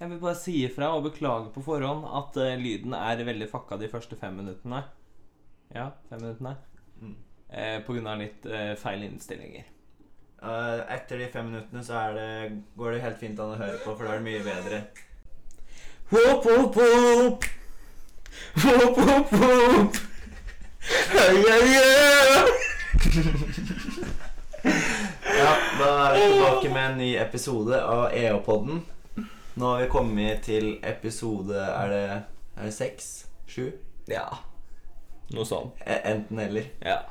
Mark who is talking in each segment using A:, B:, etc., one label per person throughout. A: Jeg vil bare si ifra og beklage på forhånd at eh, lyden er veldig fucka de første fem minuttene. Ja, fem minuttene.
B: Mm.
A: Eh, på grunn av litt eh, feil innstillinger.
B: Eh, etter de fem minuttene så er det, går det helt fint an å høre på, for da er det mye bedre.
A: Hopp, hopp, hopp! Hopp, hopp, hopp! Hei, hei, hei!
B: Ja, da er vi tilbake med en ny episode av EH-podden. Nå har vi kommet til episode Er det, er det seks? Sju?
A: Ja. Noe sånn.
B: E- Enten eller.
A: Ja.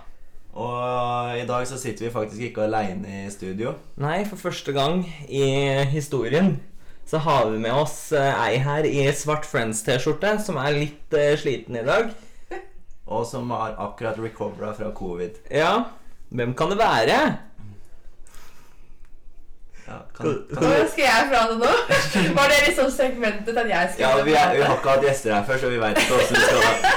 B: Og i dag så sitter vi faktisk ikke aleine i studio.
A: Nei, for første gang i historien så har vi med oss eh, ei her i svart Friends-T-skjorte, som er litt eh, sliten i dag.
B: Og som har akkurat recovera fra covid.
A: Ja, hvem kan det være?
B: Ja, kan, kan
C: Hvordan skal jeg fra det nå? Var det liksom segmentet at jeg skulle
B: ja vi, er, vi har ikke hatt gjester her før, så vi veit ikke åssen vi skal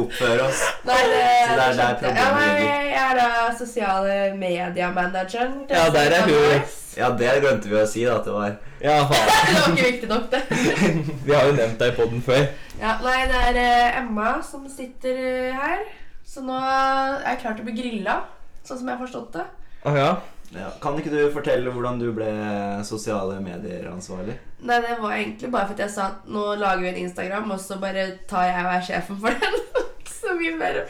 B: oppføre oss.
C: Nei, det,
B: Så det er der
C: skjønte jeg. ja,
B: problemet
C: nei,
B: ligger.
C: Jeg er da sosiale medier-manageren. til
A: Ja, der er
C: Instagram
A: hun.
C: Boys.
B: Ja, det glemte vi å si, da, at det var
A: Ja, faen.
C: Det var ikke viktig nok, det.
A: Vi har jo nevnt deg på den før.
C: Ja, nei, det er eh, Emma som sitter eh, her. Så nå er jeg klar til å bli grilla, sånn som jeg har forstått det.
A: Å Ah, ja.
B: ja. Kan ikke du fortelle hvordan du ble sosiale medier-ansvarlig?
C: Nei, det var egentlig bare fordi jeg sa at nå lager vi en Instagram, og så bare tar jeg og er sjefen for den. så mye mer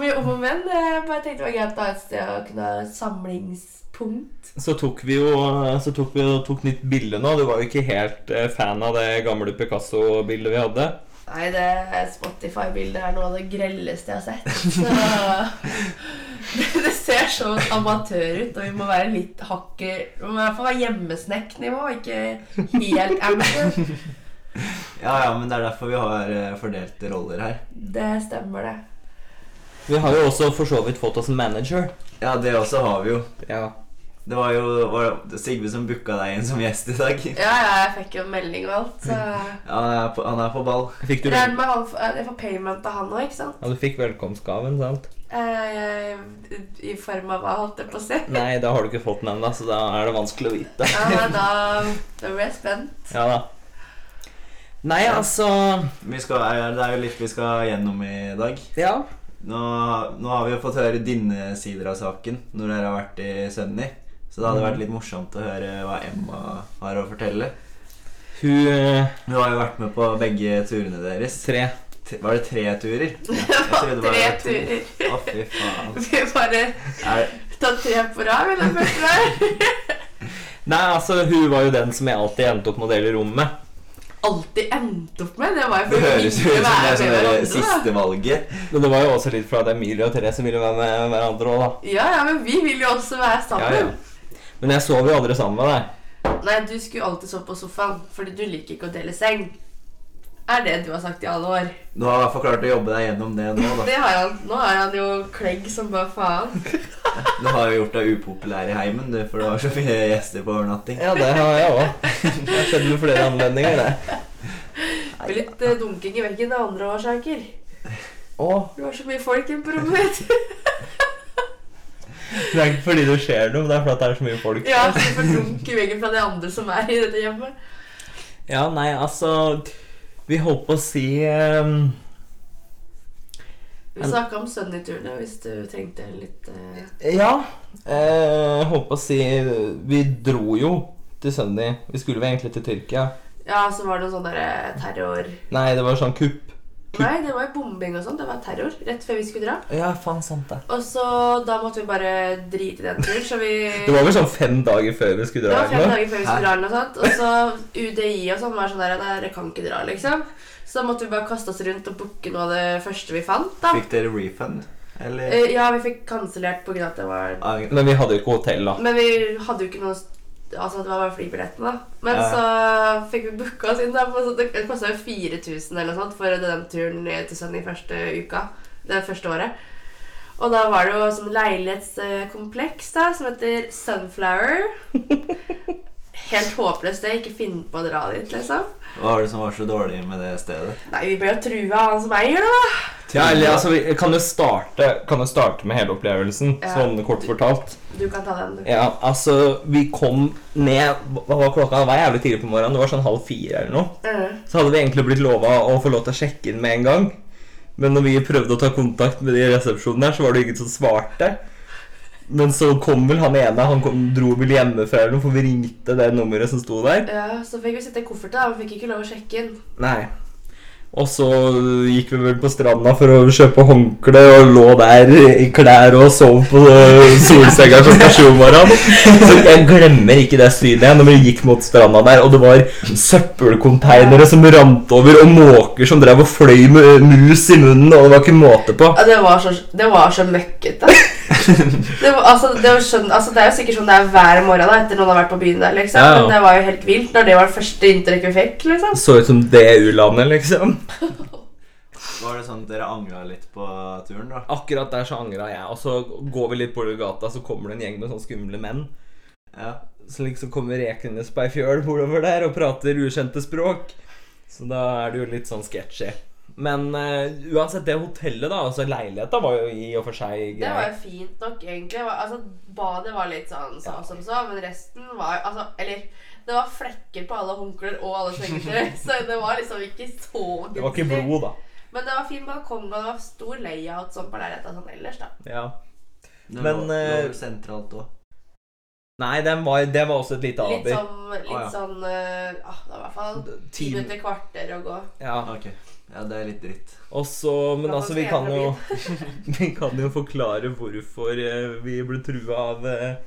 C: mye om og men. Jeg bare tenkte det var greit å ha et sted å kunne ha et samlingspunkt.
A: Så tok vi jo så tok vi jo- tok nytt bilde nå. Du var jo ikke helt eh, fan av det gamle Picasso-bildet vi hadde.
C: Nei, det Spotify-bildet er noe av det grelleste jeg har sett. Så det, det ser så amatør ut, og vi må være litt hakket Vi må i hvert fall være hjemmesnekknivå, ikke helt amateur.
B: Ja, ja, men det er derfor vi har eh, fordelte roller her.
C: Det stemmer, det.
A: Vi har jo også for så vidt fått oss en manager.
B: Ja, det også har vi jo.
A: Ja.
B: Det var jo var det Sigve som booka deg inn som gjest i dag.
C: Ja, ja, jeg fikk jo en melding og alt, så
B: Han er på, han er på ball.
A: Fikk du, vel...
C: Regn med han, eh, jeg får payment av han òg, ikke sant?
A: ja, du fikk velkomstgaven, sant?
C: Eh, I form av hva, holdt jeg på å si.
A: Nei, da har du ikke fått den ennå, så da er det vanskelig å vite.
C: Ja, men da, da blir jeg spent.
A: Ja da. Nei, altså
B: Vi skal, er- det er jo litt vi skal gjennom i dag.
A: Ja.
B: Nå, nå har vi jo fått høre dine sider av saken når dere har vært i Sunny. Så det hadde vært litt morsomt å høre hva Emma har å fortelle.
A: Hun eh,
B: Hun har jo vært med på begge turene deres.
A: tre.
B: T- Var det tre turer?
C: Det var
B: trodde bare
C: tre
B: det var to.
C: turer.
B: Å, fy faen.
C: Vi bare
B: Er,
C: tar tre på rad, eller første der.
A: Nei, altså, hun var jo den som jeg alltid endte opp med å dele rom med.
C: Alltid endte opp med. Det var jo
B: det
C: for å
B: høres jo
C: ikke
B: ut som det
C: være
B: er sånn
C: med
B: der
C: hverandre. da.
B: siste valget.
A: Men det var jo også litt for at Emilie og Therese ville være med hverandre òg, da.
C: Ja, ja, men vi vil jo også
A: Ja,
C: være sammen.
A: ja. Men jeg sov jo aldri sammen med deg.
C: Nei, du skulle alltid sove på sofaen, fordi du liker ikke å dele seng. Er det du har sagt i alle år?
B: Du har i hvert fall klart å jobbe deg gjennom det nå, da.
C: Det har han. Nå er han jo klegg som bare faen.
B: Du har jo gjort deg upopulær i heimen, du, for du har så mye gjester på overnatting.
A: Ja, det har jeg òg. Det har skjedd med flere anledninger, det.
C: Med litt eh, dunking i veggen av andre årsaker.
A: Å,
C: Det var så mye folk inne på rommet mitt.
A: det er ikke fordi det skjer noe, det er fordi det er så mye folk.
C: Ja, så jeg får dunk i veggen fra de andre som er i dette hjemmet.
A: Ja, nei, altså Vi holdt på å si ehm,
C: Vi snakka om Sunny-turene hvis du trengte litt eh,
A: Ja. Eh, holdt på å si Vi dro jo til Sunny. Vi skulle vel egentlig til Tyrkia.
C: Ja, så var det sånn derre terror
A: Nei, det var sånn kupp.
C: Nei, det var jo bombing og sånn. Det var terror rett før vi skulle dra.
A: Ja, faen sant det.
C: Og så da måtte vi bare drite i den turen, så vi
A: Det var vel sånn fem dager før vi skulle
C: Det
A: dra.
C: var fem
A: eller noe?
C: dager før vi skulle dra eller noe sånt. Og så UDI og sånn var sånn der "Nei, Dere kan ikke dra, liksom. Så da måtte vi bare kaste oss rundt og booke noe av det første vi fant. da.
B: Fikk dere refund, eller?
C: Eh, Ja, vi fikk kansellert pga. at det var
B: Ah,
A: Men vi hadde jo ikke hotell, da.
C: Men vi hadde jo ikke noe Altså, det var bare flybillettene, da. Men
B: Ja.
C: så fikk vi booka oss inn, da. for Det det kosta jo 4000 eller noe sånt for den turen til Sunny første uka. Det første året. Og da var det jo sånn leilighetskompleks da, som heter Sunflower. helt håpløst sted. Ikke finne på å dra dit, liksom.
B: Hva var det som var så dårlig med det stedet?
C: Nei, vi ble jo trua av han som eier det, da.
A: Ja, eller altså, vi- kan du starte, kan du starte med hele opplevelsen,
C: Ja.
A: sånn kort fortalt?
C: Du kan ta den, du.
A: Ja, altså, vi kom ned Hva var klokka? Det var jævlig tidlig på morgenen. Det var sånn halv fire eller noe.
C: Mm.
A: Så hadde vi egentlig blitt lova å få lov til å sjekke inn med en gang. Men når vi prøvde å ta kontakt med de i resepsjonen her, så var det ingen som svarte. Men så kom vel han ene. Han kom, dro vel hjemmefra eller noe, for vi ringte det nummeret som sto der.
C: Ja, så fikk vi sitte i koffert, da. Vi fikk ikke lov å sjekke inn.
A: Nei. Og så gikk vi vel på stranda for å kjøpe håndkle og lå der i klær og sov på øh, solsenga klokka sju om morgenen. Så jeg glemmer ikke det synet igjen når vi gikk mot stranda der, og det var søppelkonteinere som rant over, og måker som drev og fløy med mus i munnen, og det var ikke måte på.
C: Ja, det var så, det var så møkkete. Det, var, altså, det, var skjønn, altså, det er jo sikkert sånn det er hver morgen da, etter noen har vært på byen der, liksom.
A: Ja, ja.
C: Men det var jo helt vilt når det var det første inntrykk vi fikk, liksom.
A: Så ut som det u-landet, liksom.
B: Var det sånn at dere angra litt på turen, da?
A: Akkurat der så angra jeg, og så går vi litt bortover gata, så kommer det en gjeng med sånne skumle menn.
B: Ja.
A: Så liksom kommer rekene på ei fjøl bordover der og prater ukjente språk. Så da er det jo litt sånn sketchy. Men eh, uansett, det hotellet, da, altså leiligheta, var jo i og for seg
C: Det var
A: grei.
C: jo fint nok, egentlig. Det Var, altså, badet var litt sånn så som så, men resten var altså, Eller det var flekker på alle håndklær og alle sengetøy, så det var liksom ikke så
A: Det var ikke
C: gunstig.
A: blod, da.
C: Men det var fin balkong, og det var stor layout sånn på leiligheta sånn ellers, da.
A: Ja.
B: Det
A: Men,
B: lå-
A: eh,
B: lå vel sentralt òg.
A: Nei, den var, det var også et lite
C: Litt
A: aber.
C: sånn, litt
B: Å, ja.
C: sånn eh, ah, Det var i hvert fall ti
A: Team-
C: minutter, kvarter å gå.
A: Ja.
B: Ok. Ja, det er litt dritt.
A: Og så Men
C: Da
A: altså,
C: skal
A: vi
C: jeg
A: kan
C: fra
A: jo Vi kan jo forklare hvorfor eh, vi ble trua av eh,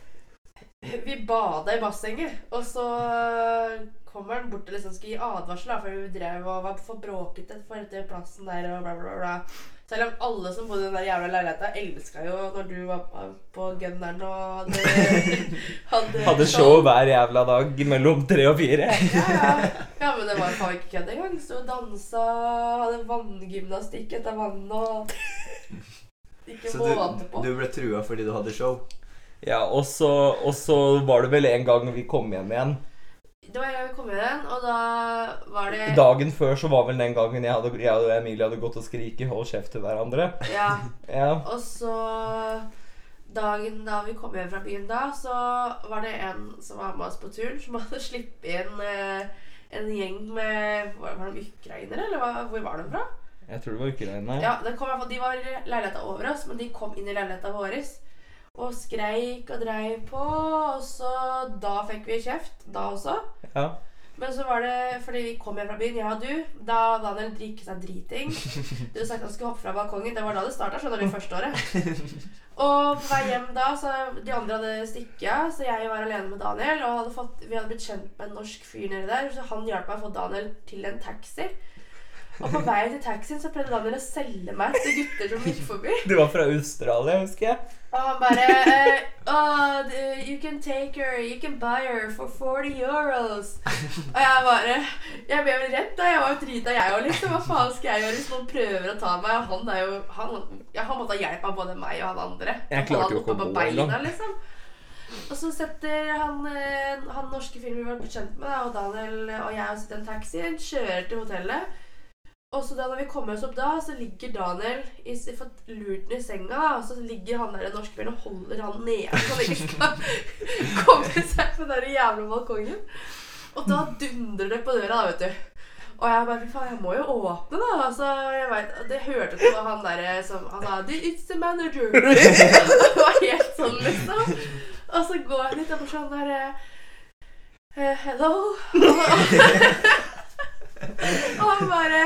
C: Vi bada i bassenget, og så eh, kommer han bort og liksom skal gi advarsel, da, for vi drev og var for bråkete for dette plassen der og bla, bla, bla. bla. Selv om alle som bodde i den der jævla leiligheta, elska jo når du var på- på gunneren og hadde, hadde, sånn.
A: Hadde show hver jævla dag mellom tre og fire.
C: Ja, ja. ja, men det var faen ikke kødd engang. Sto og dansa, hadde vanngymnastikk etter vann og Ikke
B: Så
C: måte
B: du,
C: på.
B: du ble trua fordi du hadde show?
A: Ja, og så, og så var det vel en gang vi kom hjem igjen.
C: Det var en gang vi kom igjen, og da var det
A: Dagen før så var vel den gangen jeg, hadde, jeg og Emilie hadde gått og skriket 'hold kjeft' til hverandre.
C: Ja.
A: Ja.
C: Og så Dagen da vi kom hjem fra byen da, så var det en som var med oss på turen, som hadde sluppet inn eh, en gjeng med Var var de ukrainere, eller hva, hvor var de fra?
A: Jeg tror det var Ukraina.
C: Ja, det kom i hvert fall, De var i leiligheta over oss, men de kom inn i leiligheta vår. Og skreik og dreiv på, og så Da fikk vi kjeft, da også.
A: Ja.
C: Men så var det fordi vi kom hjem fra byen, jeg og du. Da Daniel drikket seg driting. Du sa at han skulle hoppe fra balkongen. Det var da det starta, skjønner du, første året. Og på vei hjem da, så de andre hadde stikket av, så jeg var alene med Daniel. Og hadde fått, vi hadde blitt kjent med en norsk fyr nedi der, så han hjalp meg å få Daniel til en taxi. Og på vei til taxien så prøvde Daniel å selge meg til gutter som gikk forbi.
A: Du var fra Australia, husker jeg.
C: Og han bare eh, «Åh, du- You can take her, you can buy her for 40 euros. Og jeg bare Jeg ble jo redd, da. Jeg var jo drita, jeg òg, liksom. Hva faen skal jeg gjøre hvis noen prøver å ta meg? Og han er jo Han, ja, han måtte ha hjelp av både meg og han andre.
A: Jeg klarte jo ikke å gå
C: Han hadde oppe på beina,
A: engang.
C: liksom. Og så setter han, eh, han norske filmen vi var bekjent med, da, og Daniel og jeg sitter i en taxi, kjører til hotellet. Og så da når vi kommer oss opp da, så ligger Daniel i, s- fått lurt ned i senga. da, Og så ligger han der den norske fyren og holder han nede, så han ikke skal komme seg på den der jævla balkongen. Og da dundrer det på døra, da, vet du. Og jeg bare Fy faen, jeg må jo åpne, da. Altså, jeg vet, Det hørte du på han derre som Han sa «The- It's the manager. det var helt sånn, liksom. Og så går jeg litt opp sånn der eh, eh, Hello. Og han bare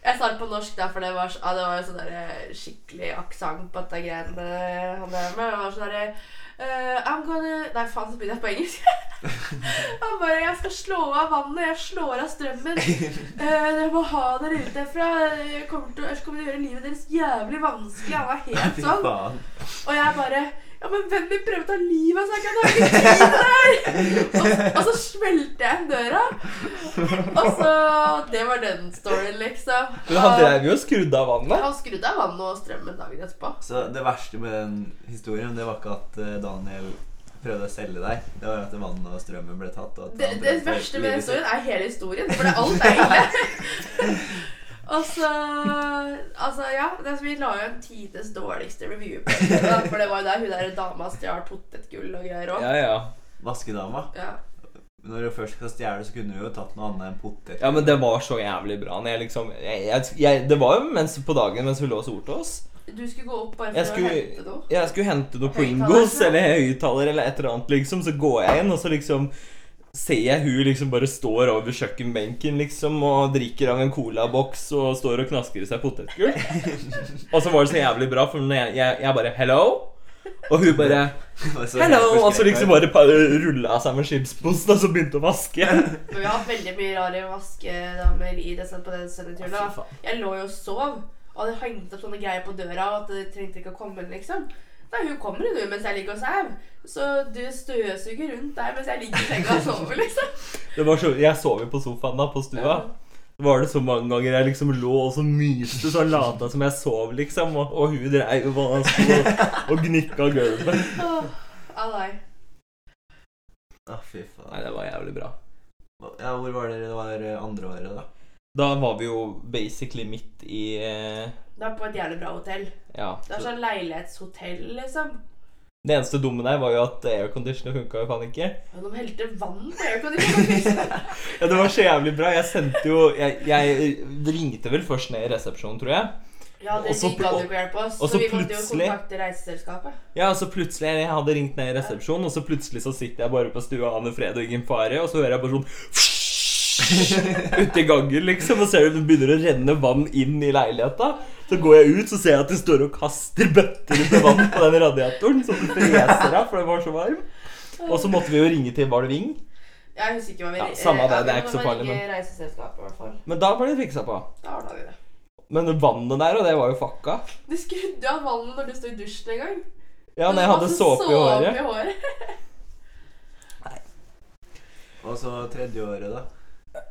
C: jeg sa det på norsk, da, for det var, så- ja, det var jo sånn der, eh, skikkelig aksent på dette greiene han drev med. Det var sånn derre eh, I'm gonna Nei, faen, så begynner jeg på engelsk. han bare 'Jeg skal slå av vannet. Jeg slår av strømmen. Eh, dere må ha dere ut derfra. Jeg kommer til, ellers kommer det til å gjøre livet deres jævlig vanskelig.' Han var helt
B: Fy
C: sånn.
B: faen.
C: Og jeg bare Ja, men hvem vil prøve å ta livet av seg? Jeg har ikke tid til det her! Og, og så smelte jeg igjen døra. Og så Det var den storyen, liksom.
A: Men han
C: Og-
A: drev jo og skrudde av vannet.
C: han skrudde av vannet og strømmen dagen etterpå.
B: Så det verste med den historien, det var ikke at eh, Daniel prøvde å selge deg, det var jo at vannet og strømmen ble tatt. Og at
C: Det,
B: han
C: det
B: brente
C: verste med
B: viruset.
C: historien er hele historien, for det er alt er ille. Og så Altså, ja. Det er som vi la jo en tides dårligste review på det. da, For det var jo der hun der dama stjal potetgull og greier òg.
A: Ja, ja.
B: Vaskedama.
C: Ja.
B: Når du først skal stjele, så kunne du jo tatt noe annet enn potet.
A: ja, men det var så jævlig bra. Når jeg liksom, jeg, jeg, jeg, det var jo mens, på dagen mens hun lå og solte oss.
C: Du skulle gå opp bare
A: Jeg
C: for å
A: skulle-
C: hente noe.
A: Jeg skulle hente noe
C: Høyttaler,
A: Pringles
C: tror jeg.
A: eller høyttaler eller et eller annet, liksom. Så går jeg inn, og så liksom ser jeg hun liksom bare står over kjøkkenbenken liksom og drikker av en colaboks og står og knasker i seg potetgull. og så var det så jævlig bra, for når jeg, jeg, jeg bare 'hello', og hun bare Hello! Og så liksom bare rulla av seg med skipsposten, og så begynte å vaske.
C: Men vi har hatt veldig mye rare vaskedamer i det, på den sendeturen. da. Jeg lå jo og sov, og det hengt opp sånne greier på døra og at det trengte ikke å komme inn, liksom. Nei, hun kommer jo nå mens jeg ligger og sover. Så du støvsuger rundt der mens jeg ligger i senga og sover, liksom.
A: Det var så, jeg sov jo på sofaen da, på stua. Det var det så mange ganger jeg liksom lå og så myste så lata som jeg sov, liksom. Og, og hun dreiv og, bare sto og- og gnikka gulvet.
C: Åh, ah, nei.
B: Å, fy
A: Nei,
B: faen.
A: det var jævlig bra.
B: Ja, hvor var dere det var eh, andre året, da?
A: Da var vi jo basically midt i eh,
C: Det var på et jævlig bra hotell.
A: Ja.
C: Det er
A: Så,
C: sånn leilighetshotell, liksom.
A: det eneste dumme der var jo at airconditioner funka jo faen ikke.
C: Men de helte vann på airconditionen.
A: Ja, Det var så jævlig bra. Jeg sendte jo Jeg, jeg ringte vel først ned i resepsjonen, tror jeg.
C: Ja, det
A: Og så
C: de gadd
A: pl-
C: jo ikke hjelpe oss,
A: og
C: så
A: så
C: vi måtte jo
A: plutselig-
C: kontakte reiseselskapet.
A: Ja, så plutselig Jeg hadde ringt ned i resepsjonen, og så plutselig så sitter jeg bare på stua aner fred og ingen fare, og så hører jeg bare sånn Uti gangen, liksom, og ser du det begynner å renne vann inn i leiligheta. Så går jeg ut, så ser jeg at de står og kaster bøtter med vann på den radiatoren, så den freser av, for den var så varm. Og så måtte vi jo ringe til Var det Ving?
C: Jeg husker ikke hva vi
A: Ja, samme det, det er ikke så farlig,
C: Men reiseselskapet, i hvert fall.
A: Men da ble det fiksa på.
C: Da ordna vi det.
A: Men vannet der, og det var jo fucka.
C: Du skrudde av vannet når du sto i dusjen en gang.
A: Ja, når jeg
C: altså,
A: hadde såpe i håret.
B: Og så tredje året, da?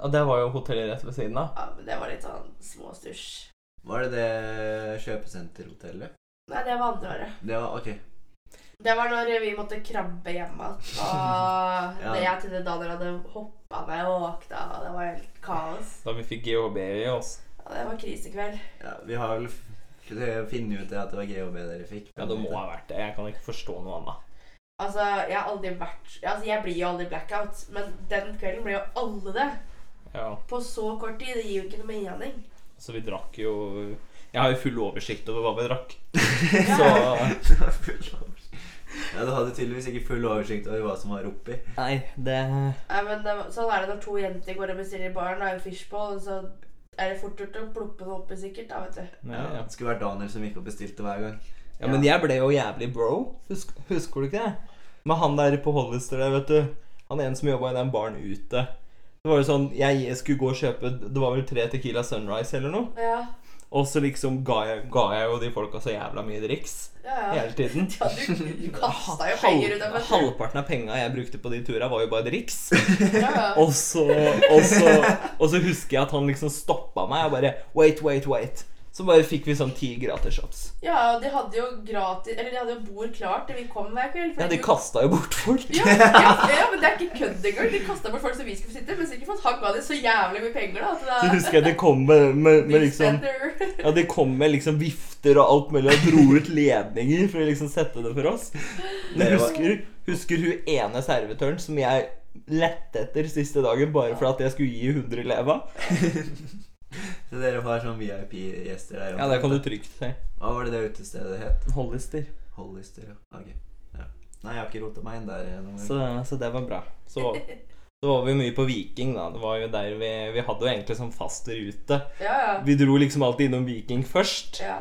A: Ja, det var jo hotellet rett ved siden av.
C: Ja, men det var litt sånn småstusj.
B: Var det det kjøpesenterhotellet?
C: Nei, det var andre året.
B: Det var ok.
C: Det var når vi måtte krabbe hjemme igjen. Og
B: Ja.
C: det jeg til det Daniel hadde hoppa med og våkna, og det var helt kaos.
A: Da vi fikk GHB i oss.
C: Ja, det var krisekveld.
B: Ja, vi har vel f- f- funnet ut det at det var GHB dere fikk.
A: Ja, det må ha vært det. Jeg kan ikke forstå noe annet.
C: Altså, jeg har aldri vært Altså, jeg blir jo aldri blackout, men den kvelden ble jo alle det.
A: Ja.
C: På så kort tid. Det gir jo ikke noe mening.
A: Så vi drakk jo Jeg har jo full oversikt over hva vi drakk.
C: Ja.
A: Så
B: Det var full oversikt. Ja, Du hadde tydeligvis ikke full oversikt over hva som var oppi.
A: Nei, det
C: Nei, men det, sånn er det når to jenter går og bestiller i baren og har en fishbowl, og så er det fort gjort å ploppe noe oppi, sikkert. da, vet du.
A: ja, ja.
B: Det skulle vært Daniel som gikk og bestilte hver gang.
A: ja, Men jeg ble jo jævlig bro. Husk, husker du ikke det? Med han der på Hollister der, vet du. Han ene som jobba i den baren ute. Det var jo sånn, Jeg skulle gå og kjøpe Det var vel tre Tequila Sunrise eller noe.
C: Ja,
A: Og så liksom ga jeg, ga jeg jo de folka så jævla mye driks
C: ja, ja.
A: hele tiden.
C: ja du, du kasta jo
A: Halv,
C: penger ut av meg.
A: halvparten av penga jeg brukte på de tura, var jo bare driks.
C: Ja, ja.
A: Og så, og, så, og så husker jeg at han liksom stoppa meg og bare Wait, wait, wait. Så bare fikk vi sånn ti gratis shots.
C: ja, og de hadde jo gratis Eller de hadde jo bord klart til vi kom hver kveld. for
A: Ja, de kasta jo bort folk.
C: ja, ja, ja, men det er ikke kødd engang. De kasta bort folk som vi skulle sitte, men sikkert for at han ga dem så jævlig mye penger, da.
A: Så
C: At det er
A: husker jeg de kom med, med, med liksom
C: Spender.
A: Ja, de kom med liksom vifter og alt mulig og dro ut ledninger for å liksom sette det for oss. Men
B: Det var-
A: husker, husker hun ene servitøren som jeg lette etter siste dagen bare for at jeg skulle gi 100 leva?
B: Så dere var sånn VIP-gjester der.
A: Ja, det kan du trygt si.
B: Hva var det det utestedet het?
A: Hollister.
B: Hollister, ja. Ok. Ja. Nei, jeg har ikke rota meg inn der. eh, noen gang.
A: Så, så det var bra. Så Så var vi mye på Viking, da. Det var jo der vi, vi hadde jo egentlig sånn fast rute.
C: Ja, ja.
A: Vi dro liksom alltid innom Viking først,
C: ja.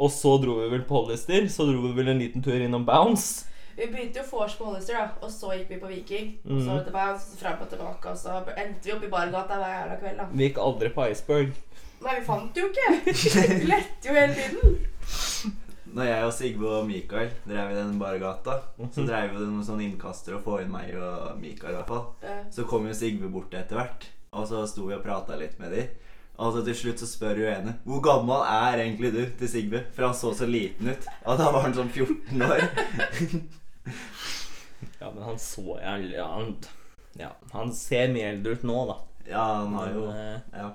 A: og så dro vi vel på Hollister. Så dro vi vel en liten tur innom Bounce.
C: Vi begynte jo vors på Hollister, da, og så gikk vi på Viking. Og så
A: Mhm.
C: tilbake, og så fram og tilbake, og så endte vi opp i Bargata hver jævla kveld. da.
A: Vi gikk aldri på Iceberg.
C: Nei, vi fant jo ikke! Vi lette jo hele tiden.
B: Når jeg og Sigve og Mikael drev i den bargata,
A: Mhm.
B: så drev vi noen sånne innkaster å få inn meg og Mikael i hvert fall.
C: Ja.
B: Så kom jo Sigve bort etter hvert, og så sto vi og prata litt med de. Og så til slutt så spør jo ene Hvor gammel er egentlig du til Sigve? For han så så liten ut. Og da var han sånn 14 år.
A: men han så jeg aldri- ja, han, ja, han ser mye eldre ut nå, da.
B: Ja, han har
A: Men,
B: jo
A: eh,
B: Ja.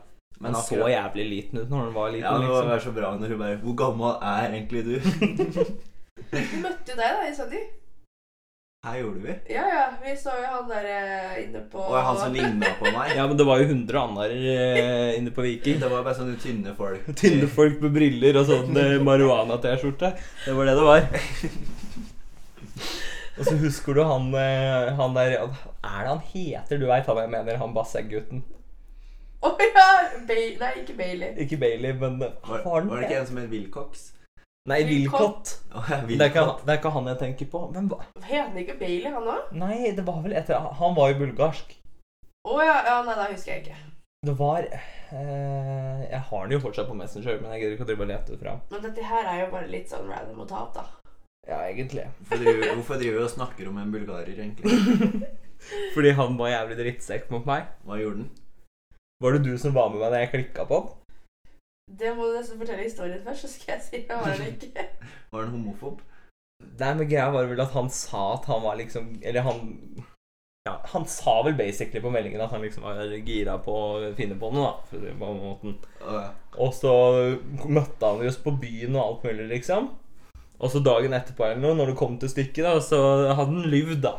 A: han så
B: akkurat-
A: jævlig liten ut når han var
B: Ja,
A: liten.
B: det må
A: liksom.
B: være så bra når hun bare Hvor gammel er egentlig du?
C: Vi møtte jo deg da i Sunny.
B: Her gjorde vi.
C: Ja, ja. Vi så jo han der eh, inne på
B: Og han som ligna på meg.
A: ja, men det var jo 100 andre eh, inne på Viking.
B: Det var bare sånne tynne folk.
A: Tynne folk med briller og sånn eh, marihuana-T-skjorte. Det var det det var. Og så husker du han, eh, han der Er det han heter? Du veit han jeg mener, han bassenggutten.
C: Å ja! Bay Nei, ikke Bailey.
A: Ikke Bailey, men eh,
B: Var,
A: hva
B: var det ikke en som het Wilcox?
A: Nei, Wilcott.
B: Å, jeg
A: Det,
B: vil
A: er ikke
B: godt.
A: han- det er ikke han jeg tenker på. Hvem var
C: Het han ikke Bailey, han òg?
A: Nei, det var vel etter Han var jo bulgarsk.
C: Å ja, ja. Nei, da husker jeg ikke.
A: Det var eh, Jeg har den jo fortsatt på Messenger, men jeg gidder ikke å drive og lete det fram.
C: Men dette her er jo bare litt sånn random å ta opp, da.
A: Ja, egentlig.
B: Hvorfor driver- Hvorfor driver vi og snakker om en bulgarer, egentlig?
A: Fordi han var jævlig drittsekk mot meg.
B: Hva gjorde han?
A: Var det du som var med meg da jeg klikka på han?
C: Det må du nesten fortelle historien først, så skal jeg si det var eller ikke.
B: Var han homofob?
A: Nei, men greia var vel at han sa at han var liksom Eller han Ja, han sa vel basically på meldingen at han liksom var gira på å finne på noe, da. For å si det på den måten.
B: Å,
A: Og så møtte han oss på byen og alt mulig, liksom. Og så dagen etterpå eller noe, når det kom til stykket, da, så hadde han lyvd, da.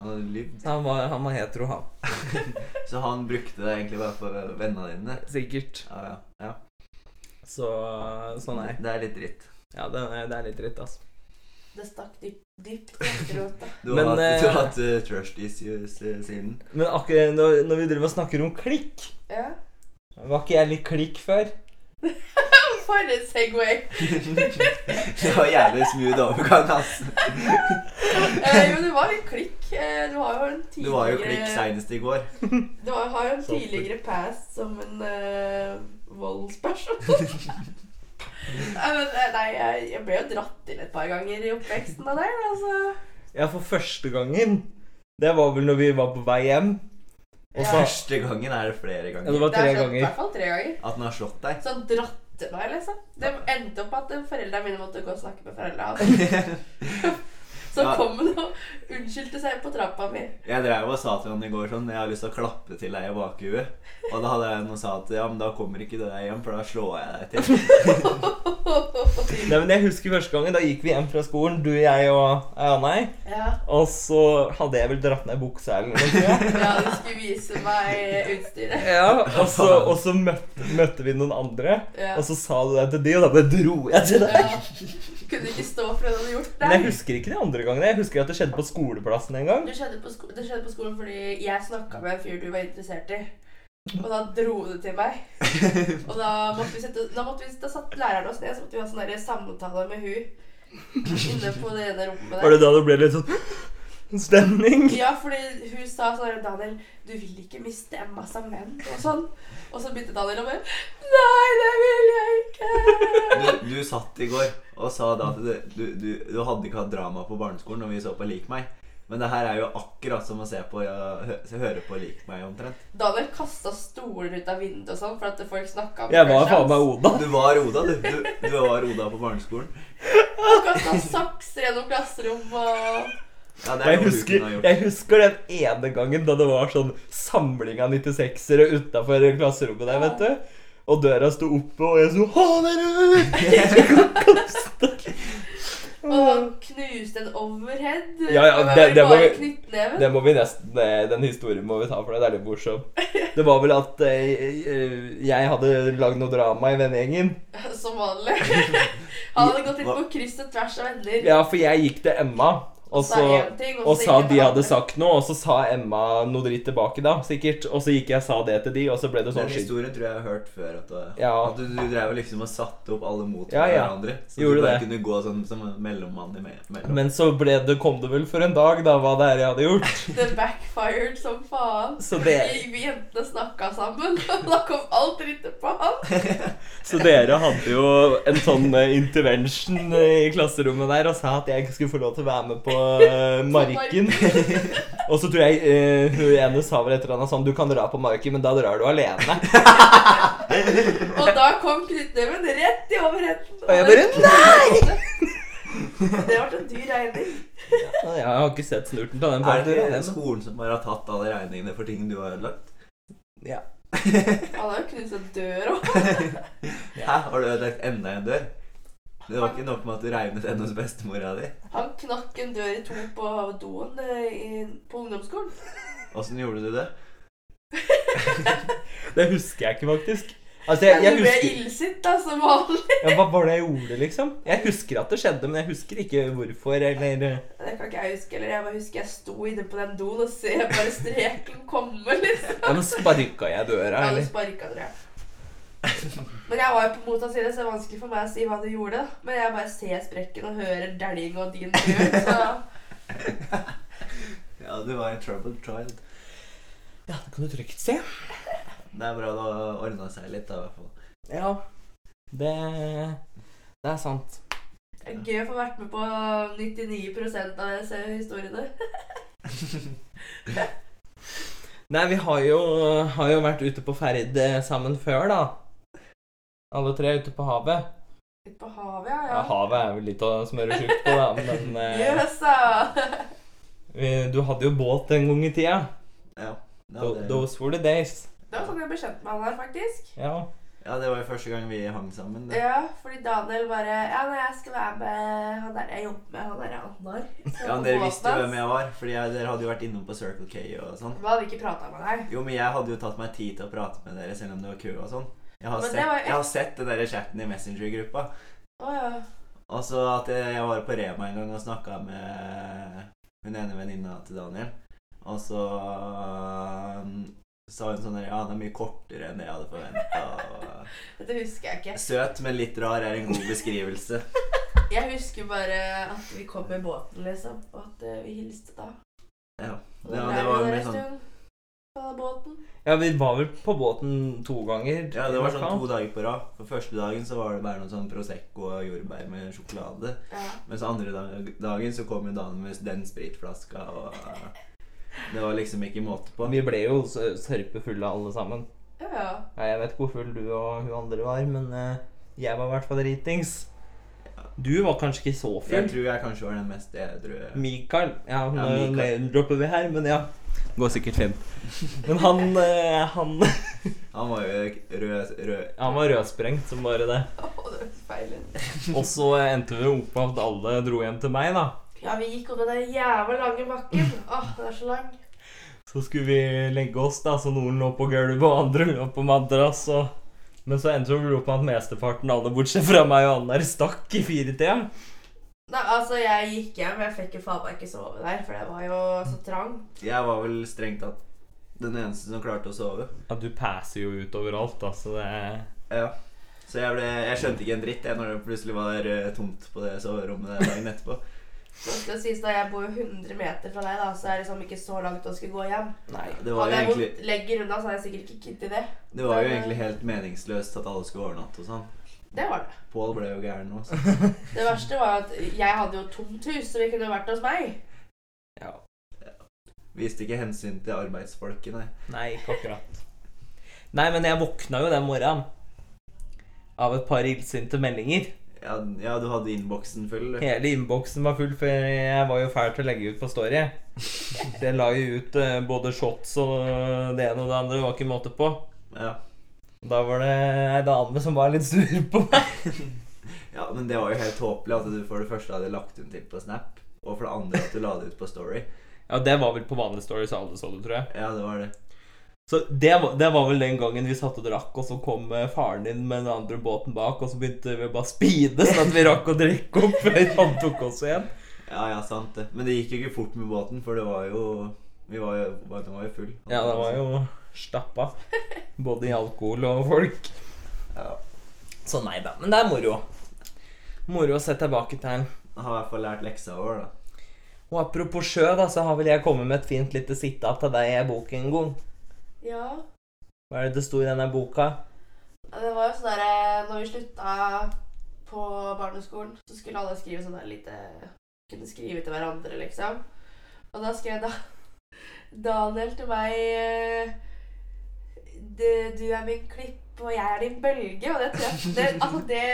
B: Han hadde lyvd.
A: Han var, han var hetero, han.
B: Så han brukte det egentlig bare for vennene dine?
A: Sikkert.
B: Ja, ja. ja.
A: Så sånn er det.
B: Det er litt dritt.
A: Ja, det er, det er litt dritt, altså.
C: Det stakk dypt, dypt rota.
B: Du
A: Men,
B: har hatt, du
A: eh,
B: har hatt eh, trust issues eh, siden.
A: Men akkurat når, når vi driver og snakker om klikk
C: Ja.
A: Var ikke jeg litt klikk før?
C: For en Segway.
B: det var jævlig smooth overgang, ass.
C: Eh, jo, det var litt klikk. Eh, du har jo en
B: Du
C: tidligere
B: var jo klikk seinest i går.
C: Du har, har jo en
A: Så-
C: tidligere past som en eh, voldsperson. nei, men, eh, nei, jeg, jeg ble jo dratt inn et par ganger i oppveksten av deg. Altså.
A: Ja, for første gangen. Det var vel når vi var på vei hjem. Og så
B: Første gangen er det flere
A: Ja, det
B: ganger.
A: var tre
C: er sånn, I
A: ganger.
C: hvert fall tre ganger.
B: At han har slått deg.
C: Sånn dratte meg, liksom. Det endte opp at eh, foreldrene mine måtte gå og snakke med foreldra hans.
B: Jeg
C: Så
B: Ja.
C: kom han og unnskyldte seg på trappa mi.
B: drev og sa til han i går sånn Jeg har lyst til å klappe til deg i bakhuet. Og da hadde han og sa at ja, men da kommer ikke du deg hjem, for da slår jeg deg til.
A: Nei, men jeg husker første gangen. Da gikk vi hjem fra skolen, du, jeg og ja, nei.
C: Ja,
A: Og så hadde jeg vel dratt ned buksa eller noe. tror jeg.
C: ja du skulle vise meg eh, utstyret.
A: Ja, og så, og så møtte, møtte vi noen andre,
C: Ja.
A: og så sa du det til de, og da bare dro jeg til deg.
C: Ja. Kunne ikke stå for det du hadde gjort.
A: Men jeg husker ikke de andre gangene. Jeg husker at det skjedde på skoleplassen en gang.
C: Det skjedde, på sko det skjedde på skolen fordi jeg snakka med en fyr du var interessert i. Og da dro det til meg. Og da måtte vi sette Da, måtte vi, da satt læreren oss ned, så måtte vi ha sånn der samtale med hun inne på det ene rommet
A: Var
C: der.
A: det da det ble litt sånn stemning?
C: Ja, fordi hun sa sånn der, Daniel, du vil ikke miste Emma som venn, og sånn. Og så begynte Daniel å bare Nei, det vil jeg ikke.
B: Du, du satt i går og sa da at det- du, du, du hadde ikke hatt drama på barneskolen når vi så på Lik meg. Men det her er jo akkurat som å se på, ja, hø, høre på Lik meg, omtrent.
C: Daniel kasta stoler ut av vinduet og sånn for at folk snakka
A: Jeg var faen meg Oda.
B: Du var Oda, du. Du, du var Oda på barneskolen.
C: Han kasta sakser gjennom klasserom og
B: Ja, det er
A: Jeg
B: noe du
A: husker,
B: kunne ha gjort.
A: jeg husker den ene gangen da det var sånn samling av 96-ere utafor klasserommet der, vet du. Og døra sto oppe, og jeg så Ha dere!
C: Og
A: Mm.
C: han knuste en overhead.
A: Ja, ja,
C: Og
A: det- det
C: bare
A: var-
C: knyttneven.
A: Det må vi nesten, eh, Den historien må vi ta, for det er litt morsom. Det var vel at eh, eh, jeg hadde lagd noe drama i vennegjengen.
C: Som vanlig. Han hadde gått litt på kryss og tvers av venner.
A: Ja, for jeg gikk til Emma, og
C: sa
A: så
C: en ting,
A: og
C: så
A: sa
C: gikk
A: de
C: han
A: hadde
C: andre.
A: sagt noe, og så sa Emma noe dritt tilbake, da, sikkert. Og så gikk jeg og sa det til de, og så ble det
B: Den
A: sånn skitt.
B: historien tror jeg jeg har hørt før. At, det-
A: Ja.
B: at du, du drev liksom og satte opp alle mot
A: Ja, ja.
B: hverandre. Så
A: Gjorde
B: du bare
A: det.
B: kunne gå sånn som en mellommann i me- mellom.
A: Men så ble det, kom det vel for en dag, da, hva det er jeg hadde gjort.
C: Det backfired som faen.
A: Så det-
C: Vi, vi jentene snakka sammen, og da kom alt drittet på han.
A: Så dere hadde jo en sånn eh, intervention eh, i klasserommet der og sa at jeg ikke skulle få lov til å være med på eh, marken. Og så tror jeg eh, hun ene sa vel et eller annet sånn Du kan dra på marken, men da drar du alene.
C: Og da kom knyttneven rett i overheten.
A: Og jeg bare Nei!
C: Det ble en dyr regning.
A: Ja, jeg har ikke sett snurten av den
B: Er det
A: parten.
B: den skolen som bare har tatt alle regningene for ting du har ødelagt?
A: Ja.
C: Han har jo knusa dør òg.
B: Hæ, har du ødelagt enda en dør? Det var ikke nok med at du regnet enn hos bestemora di.
C: Han knakk en dør i to på doen eh, i, på ungdomsskolen.
B: Åssen gjorde du det?
A: Det husker jeg ikke, faktisk. Altså, jeg,
C: Men
A: jeg
C: du ble
A: husker
C: illsint, da, som vanlig.
A: ja, Hva var det jeg gjorde, liksom? Jeg husker at det skjedde, men jeg husker ikke hvorfor. Eller
C: Det kan ikke jeg huske heller. Jeg bare husker jeg sto inne på den doen og ser bare streken komme, liksom.
A: ja, men sparka jeg døra,
C: Jeg hadde
A: eller?
C: sparka, tror jeg. Men jeg var jo på motsatt side, så det er vanskelig for meg å si hva du gjorde. da. Men jeg bare ser sprekken og hører dæljing og din tur, så
B: Ja, du var en troubled child.
A: Ja, det kan du trygt se.
B: Det er bra det har ordna seg litt, da, i hvert fall.
A: Ja. Det Det er sant.
C: det er gøy å få vært med på 99 av det, ser historiene.
A: Nei, vi har jo, har jo vært ute på ferd eh, sammen før, da. Alle tre ute på havet.
C: Litt på havet, ja.
A: Ja,
C: ja.
A: havet er vel litt å smøre sjukt på, da, men eh,
C: Jøssa!
A: vi- Du hadde jo båt en gang i tida.
B: Ja, ja,
A: Tho-
B: det,
A: Those were the days.
C: Det var sånn jeg ble kjent med han her, faktisk.
A: Ja.
B: ja, det var jo første gang vi hang sammen. Det.
C: Ja, fordi Daniel bare Ja, nei, jeg skal være med han der jeg jobber med, han der Annar. Så
B: Ja, men
C: på
B: Dere
C: båten
B: visste jo
C: hans.
B: hvem jeg var, Fordi jeg, dere hadde jo vært innom på Circle K og sånn.
C: Vi hadde ikke prata med deg.
B: Jo, men jeg hadde jo tatt meg tid til å prate med dere selv om det var kø og sånn. Jeg har,
C: Men det
B: sett,
C: var jo-
B: jeg har sett den der chatten i Messenger-gruppa.
C: Å ja.
B: Og så at jeg, jeg var på Rema en gang og snakka med hun ene venninna til Daniel. Og så um, sa hun sånn der, Ja, han er mye kortere enn det jeg hadde forventa.
C: Dette husker jeg ikke.
B: Søt, men litt rar er en god beskrivelse.
C: Jeg husker bare at vi kom med båten, liksom, og at eh, vi hilste da.
B: Ja,
C: Og
B: ja,
C: da
B: det
C: ble
B: var
C: vi der
B: mer
C: en
B: sånn
C: stund På den båten.
A: Ja, vi var vel på båten to ganger.
B: Ja, det var sånn
A: to
B: to dager på rad. For første dagen så var det bare noe sånn Prosecco og jordbær med sjokolade.
C: Ja.
B: Mens andre dag- dagen så kom jo damen med den spritflaska, og det var liksom ikke måte på.
A: Vi ble jo s- sørpefulle alle sammen.
C: ja, ja.
A: Ja, jeg vet ikke hvor full du og hun andre var, men eh, jeg var i hvert fall dritings. Du var kanskje ikke så
B: Jeg
A: full.
B: tror jeg kanskje var den mest edru.
A: Mikael Ja, nå
B: Ja, Mikael.
A: dropper vi her, men ja. Går sikkert fint. Men han, eh, han
B: Han var jo rød, rød
A: Han var rødsprengt som bare det.
C: Å, det var feil.
A: Og så eh, endte vi opp med at alle dro hjem til meg, da.
C: Ja, vi gikk opp den jævla lange bakken. Åh, den er så lang.
A: Så skulle vi legge oss, da, så noen lå på gulvet, og andre lå på madrass. Og... Men så endte vi opp med at mesteparten, alle bortsett fra meg og Annar, stakk i firetida.
C: Nei, altså, jeg gikk hjem, jeg fikk jo faen meg ikke sove der, for det var jo så trangt.
B: Jeg var vel strengt tatt den eneste som klarte å sove.
A: Ja, du passer jo ut overalt, da, så det
B: Ja. Så jeg, ble, jeg skjønte ikke en dritt jeg, når det plutselig var eh, tomt på det soverommet den dagen etterpå.
C: Så skal det sies da, jeg bor jo 100 meter fra deg, da, så det er liksom ikke så langt å skulle gå hjem.
A: Nei.
B: Det var jo
C: Hadde jeg
B: egentlig,
C: gått legger unna, så hadde jeg sikkert ikke giddet det.
B: det var jo egentlig helt meningsløst at alle skulle overnatte og sånn.
C: Det var det.
B: Pål ble jo gæren nå. så-
C: Det verste var at jeg hadde jo tomt hus, så vi kunne jo vært hos meg.
A: Ja.
B: Viste ikke hensyn til arbeidsfolket, nei.
A: Nei, ikke akkurat. Nei, men jeg våkna jo den morgenen av et par illsinte meldinger.
B: Ja, ja du hadde innboksen full. du.
A: Hele innboksen var full, for jeg var jo fæl til å legge ut på Story. Så jeg la jo ut eh, både shots og det ene og det andre. Det var ikke måte på.
B: Ja.
A: Da var det ei dame som var litt sur på meg.
B: ja, men det var jo helt håpelig at du for det første hadde lagt den til på Snap, og for det andre at du la det ut på Story.
A: Ja, det var vel på vanlige stories alle så det, tror jeg.
B: Ja, det var det.
A: Så det var, det var vel den gangen vi satt og drakk, og så kom eh, faren din med den andre båten bak, og så begynte vi å bare speede, sånn at vi rakk å drikke opp før han tok oss igjen.
B: Ja, ja, sant det. Men det gikk jo ikke fort med båten, for det var jo Vi var jo, var, den var jo full.
A: Ja, det var jo stappa. Både i alkohol og folk.
B: Ja.
A: Så nei da. Men det er moro. Moro å se tilbake til.
B: Jeg har i hvert fall lært leksa vår, da.
A: Og apropos sjø, da, så har vel jeg kommet med et fint lite sitat til deg i boken en gang.
C: Ja.
A: Hva er det det sto i denne boka?
C: Det var jo sånn derre Når vi slutta på barneskolen, så skulle alle skrive sånn der lite Kunne skrive til hverandre, liksom. Og da skrev da Daniel til meg eh, du, du er min klippe, opp, og jeg er din bølge. Og det, tror jeg- det, altså, det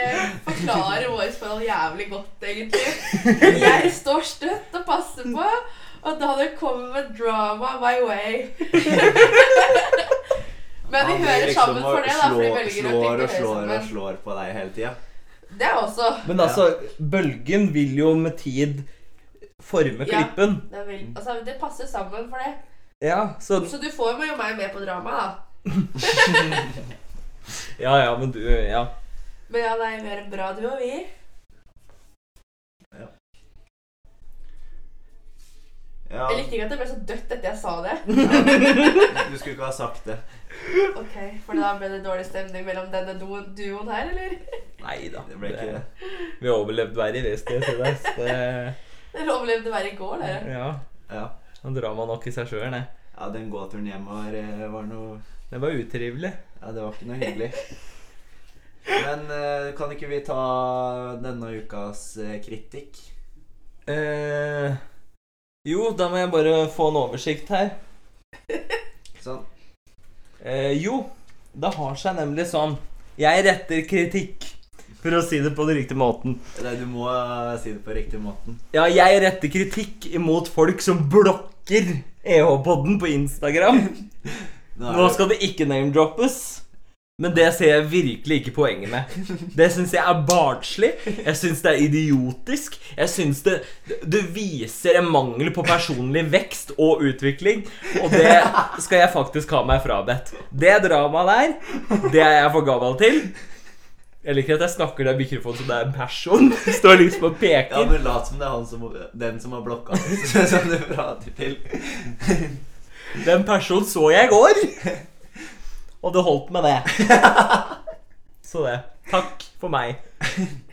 C: forklarer vårt forhold jævlig godt, egentlig. Jeg står støtt og passer på, og da det kommer med drama my way Men vi
B: Han driver
C: hører
B: liksom
C: sammen
B: og
C: for det, da, fordi
B: slår-
C: bølger
B: slår
C: og klikker
B: og
C: hører
B: slår og
C: sammen.
B: slår på deg hele tida.
C: Det er også
A: Men altså, bølgen vil jo med tid forme
C: Ja.
A: klippen.
C: det, er vel- altså, det passer sammen for det.
A: Ja, så
C: Så du får jo meg med på drama, da.
A: Ja, ja, men du Ja.
C: Men ja, nei, vi er en bra duo, vi.
B: Ja,
C: Jeg likte ikke at det ble så dødt etter jeg sa det.
B: du skulle ikke ha sagt det.
C: Ok, For da ble det dårlig stemning mellom denne do- duoen her, eller?
A: Nei da.
B: Det ble ikke det.
A: Vi har overlevd verre i det, skal jeg si deg. så Det,
C: Dere overlevde hver i går, dere.
A: ja.
B: Ja.
A: Han drar meg nok i seg sjøl, det.
B: ja, den gåturen hjem var, eh, var noe
A: Det var utrivelig.
B: Ja, det var ikke noe hyggelig. Men eh, kan ikke vi ta denne ukas eh, kritikk?
A: Eh, jo, da må jeg bare få en oversikt her.
B: Sånn.
A: Eh, jo, det har seg nemlig sånn Jeg retter kritikk, for å si det på den riktige måten.
B: Nei, du må eh, si det på riktig måten.
A: Ja, jeg retter kritikk imot folk som blokker EH-podden på Instagram.
B: Nå
A: Nå
B: er det,
A: skal det ikke name-droppes. Men det ser jeg virkelig ikke poenget med. Det syns jeg er barnslig. Jeg syns det er idiotisk. Jeg syns det Det viser en mangel på personlig vekst og utvikling. Og det skal jeg faktisk ha meg frabedt. Det dramaet der, det er jeg for gammel til. Jeg liker at jeg snakker der mikrofonen som det er en person. Står liksom og
B: ja,
A: peker.
B: men lat som det er han som, den som har blokka oss, som du sånn prater til.
A: Den personen så jeg i går, og det holdt med det. Så det. Takk for meg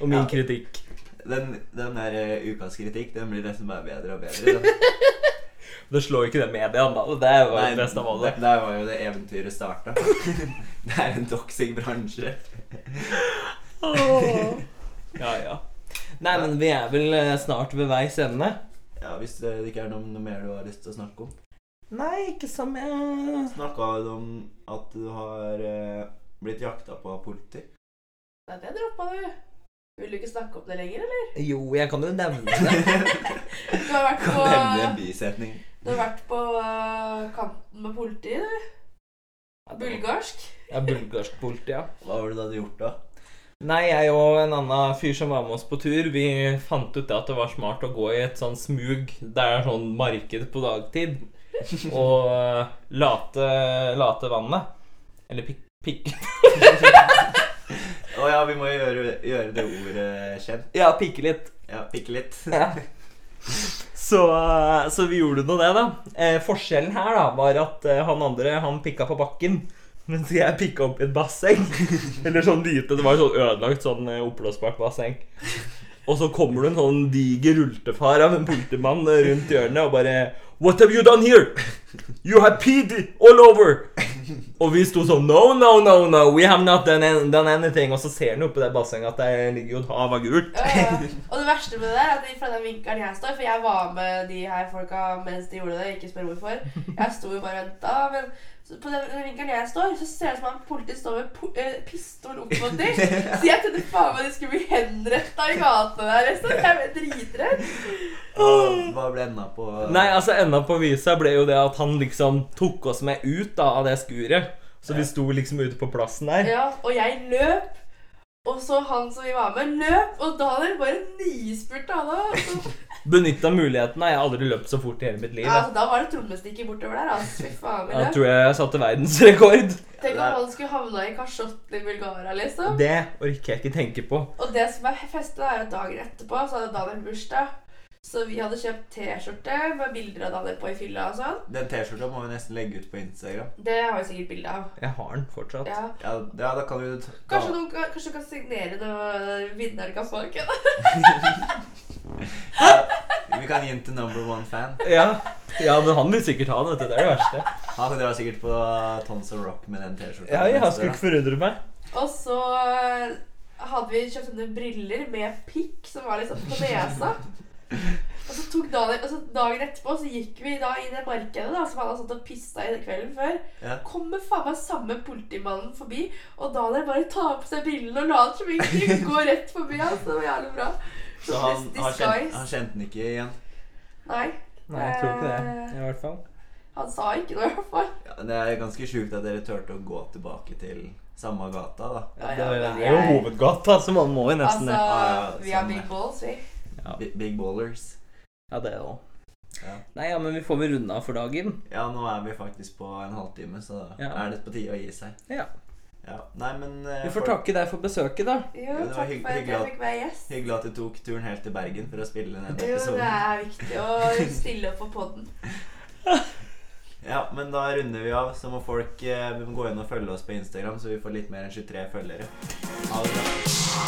A: og min
B: Ja.
A: kritikk.
B: Den, den der eh, ukas kritikk, den blir nesten bare bedre og bedre. da.
A: Det slår ikke det mediaen, da. Det er jo det beste av alle.
B: det- Der var jo det eventyret starta. det er en toxic bransje.
A: Ja, ja. Nei, men vi er vel eh, snart ved veis ende.
B: Ja, Hvis det ikke er noe, noe mer du har lyst til å snakke om.
A: Nei, ikke som jeg
B: Snakka du om at du har eh, blitt jakta på av politi?
C: Nei, det droppa du. Vil du ikke snakke om det lenger, eller?
A: Jo, jeg kan jo nevne det.
B: kan
C: Du har vært på,
B: nevne en bisetning.
C: du har vært på øh, kanten med politiet, du. Bulgarsk.
A: Ja, bulgarsk politi, ja.
B: Hva var det du hadde gjort da?
A: Nei, jeg og en annen fyr som var med oss på tur, vi fant ut det at det var smart å gå i et sånn smug der det er sånn marked på dagtid, og eh, late, late vannet. Eller pikk... Pik,
B: Å ja, vi må gjøre, gjøre det ordet kjent.
A: ja, pikke litt.
B: Ja, pikke litt.
A: Ja. Så, eh, så vi gjorde nå det, da. Eh, forskjellen her da, var at eh, han andre han pikka på bakken, mens jeg pikka opp i et basseng. Eller sånn lite. Det var sånn ødelagt, sånn eh, oppblåsbart basseng. Og så kommer det en sånn diger ultefar av en politimann eh, rundt hjørnet og bare What have you done here? You have peed all over! Og vi sto sånn No, no, no, no, we have not done, an- done anything. Og så ser han jo oppi det bassenget at det ligger jo et hav av gult.
C: Øh, og det verste med det der, er at fra den vinkelen jeg står For jeg var med de her folka mens de gjorde det, ikke spør hvorfor. Jeg sto jo bare og venta. Men så på den den vinkelen jeg står, så ser det ut som om politiet står med po eh, pistol opp mot dem. Så jeg trodde faen meg de skulle bli henretta i gatene der. Liksom. Jeg ble dritredd.
B: Og hva ble enda på
A: Nei, altså enda på visa ble jo det at han liksom tok oss med ut da, av det skuret. Så vi sto liksom ute på plassen der.
C: Ja, og jeg løp. Og så han som vi var med, løp. Og da hadde dere bare nyspurta han òg.
A: Benytta mulighetene. Jeg har aldri løpt så fort i hele mitt liv.
C: Ja,
A: Jeg,
C: altså, da var det trommestikker bortover der. Altså. Fy faen, vi
A: jeg
C: løp.
A: tror jeg satte verdensrekord.
C: Tenk om han skulle havna i Kasjot i Bulgaria, liksom.
A: Det orker jeg ikke tenke på.
C: Og det som er festet er at dagen etterpå så hadde Daniel bursdag. Så vi hadde kjøpt T-skjorte med bilder av Daniel på i fylla og sånn.
B: Den T-skjorta må vi nesten legge ut på Instagram.
C: Det har vi sikkert bilde av.
A: Jeg har den fortsatt.
C: Ja.
B: Ja, ja da kan du ta
C: Kanskje, noen, kan- kanskje du kan signere når vinneren kan få den?
B: Vi kan gi den til number one fan.
A: Ja. ja, men han vil sikkert ha den. vet du. Det er det verste.
B: Han drar sikkert på Tons of Rock med den T-skjorta.
A: Ja, jeg skulle ikke forundre meg.
C: Og så eh, hadde vi kjøpt sånne briller med pikk som var liksom på nesa. Og så tok dagen, altså dagen etterpå så gikk vi da i det markedet da, som han hadde stått og pissa i den kvelden før.
B: Ja.
C: Kommer faen meg samme politimannen forbi, og Daniel bare tar på seg brillene og later som ingenting. Går rett forbi han. så Det var jævlig bra.
B: Så han, han,
C: Best
B: kjente,
C: disguise.
B: han kjente den ikke igjen.
C: Nei,
D: Nei, jeg tror ikke
C: Eh,
D: det. I hvert fall.
C: han sa ikke noe i hvert fall.
B: Ja, det er ganske sjukt at dere turte å gå tilbake til samme gata, da.
C: Ja, ja,
D: Det
C: men
D: er jo
C: jeg-
D: hovedgata, så man må jo nesten
C: Altså,
D: det.
B: Ja, ja,
C: vi har
B: sånn,
C: big
B: ja.
C: balls, vi.
B: Bi- Big ballers.
D: Ja, det òg.
B: Ja.
D: Nei, ja, men vi får vel runde av for dagen.
B: Ja, nå er vi faktisk på en halvtime, så da
D: Ja.
B: er det på tide å gi seg.
D: Ja.
B: Ja. Nei, men eh,
D: Vi får
B: folk-
D: takke deg for besøket, da.
C: Jo,
B: det var
C: takk
B: hygg-
C: for at
B: hyggelig
C: jeg
B: at-
C: fikk være gjest.
B: Hyggelig at du tok turen helt til Bergen for å spille denne
C: Jo, det
B: episoden.
C: er viktig å stille opp på poden.
B: Ja, men da runder vi av. Så må folk eh, gå inn og følge oss på Instagram, så vi får litt mer enn 23 følgere. Ha det bra.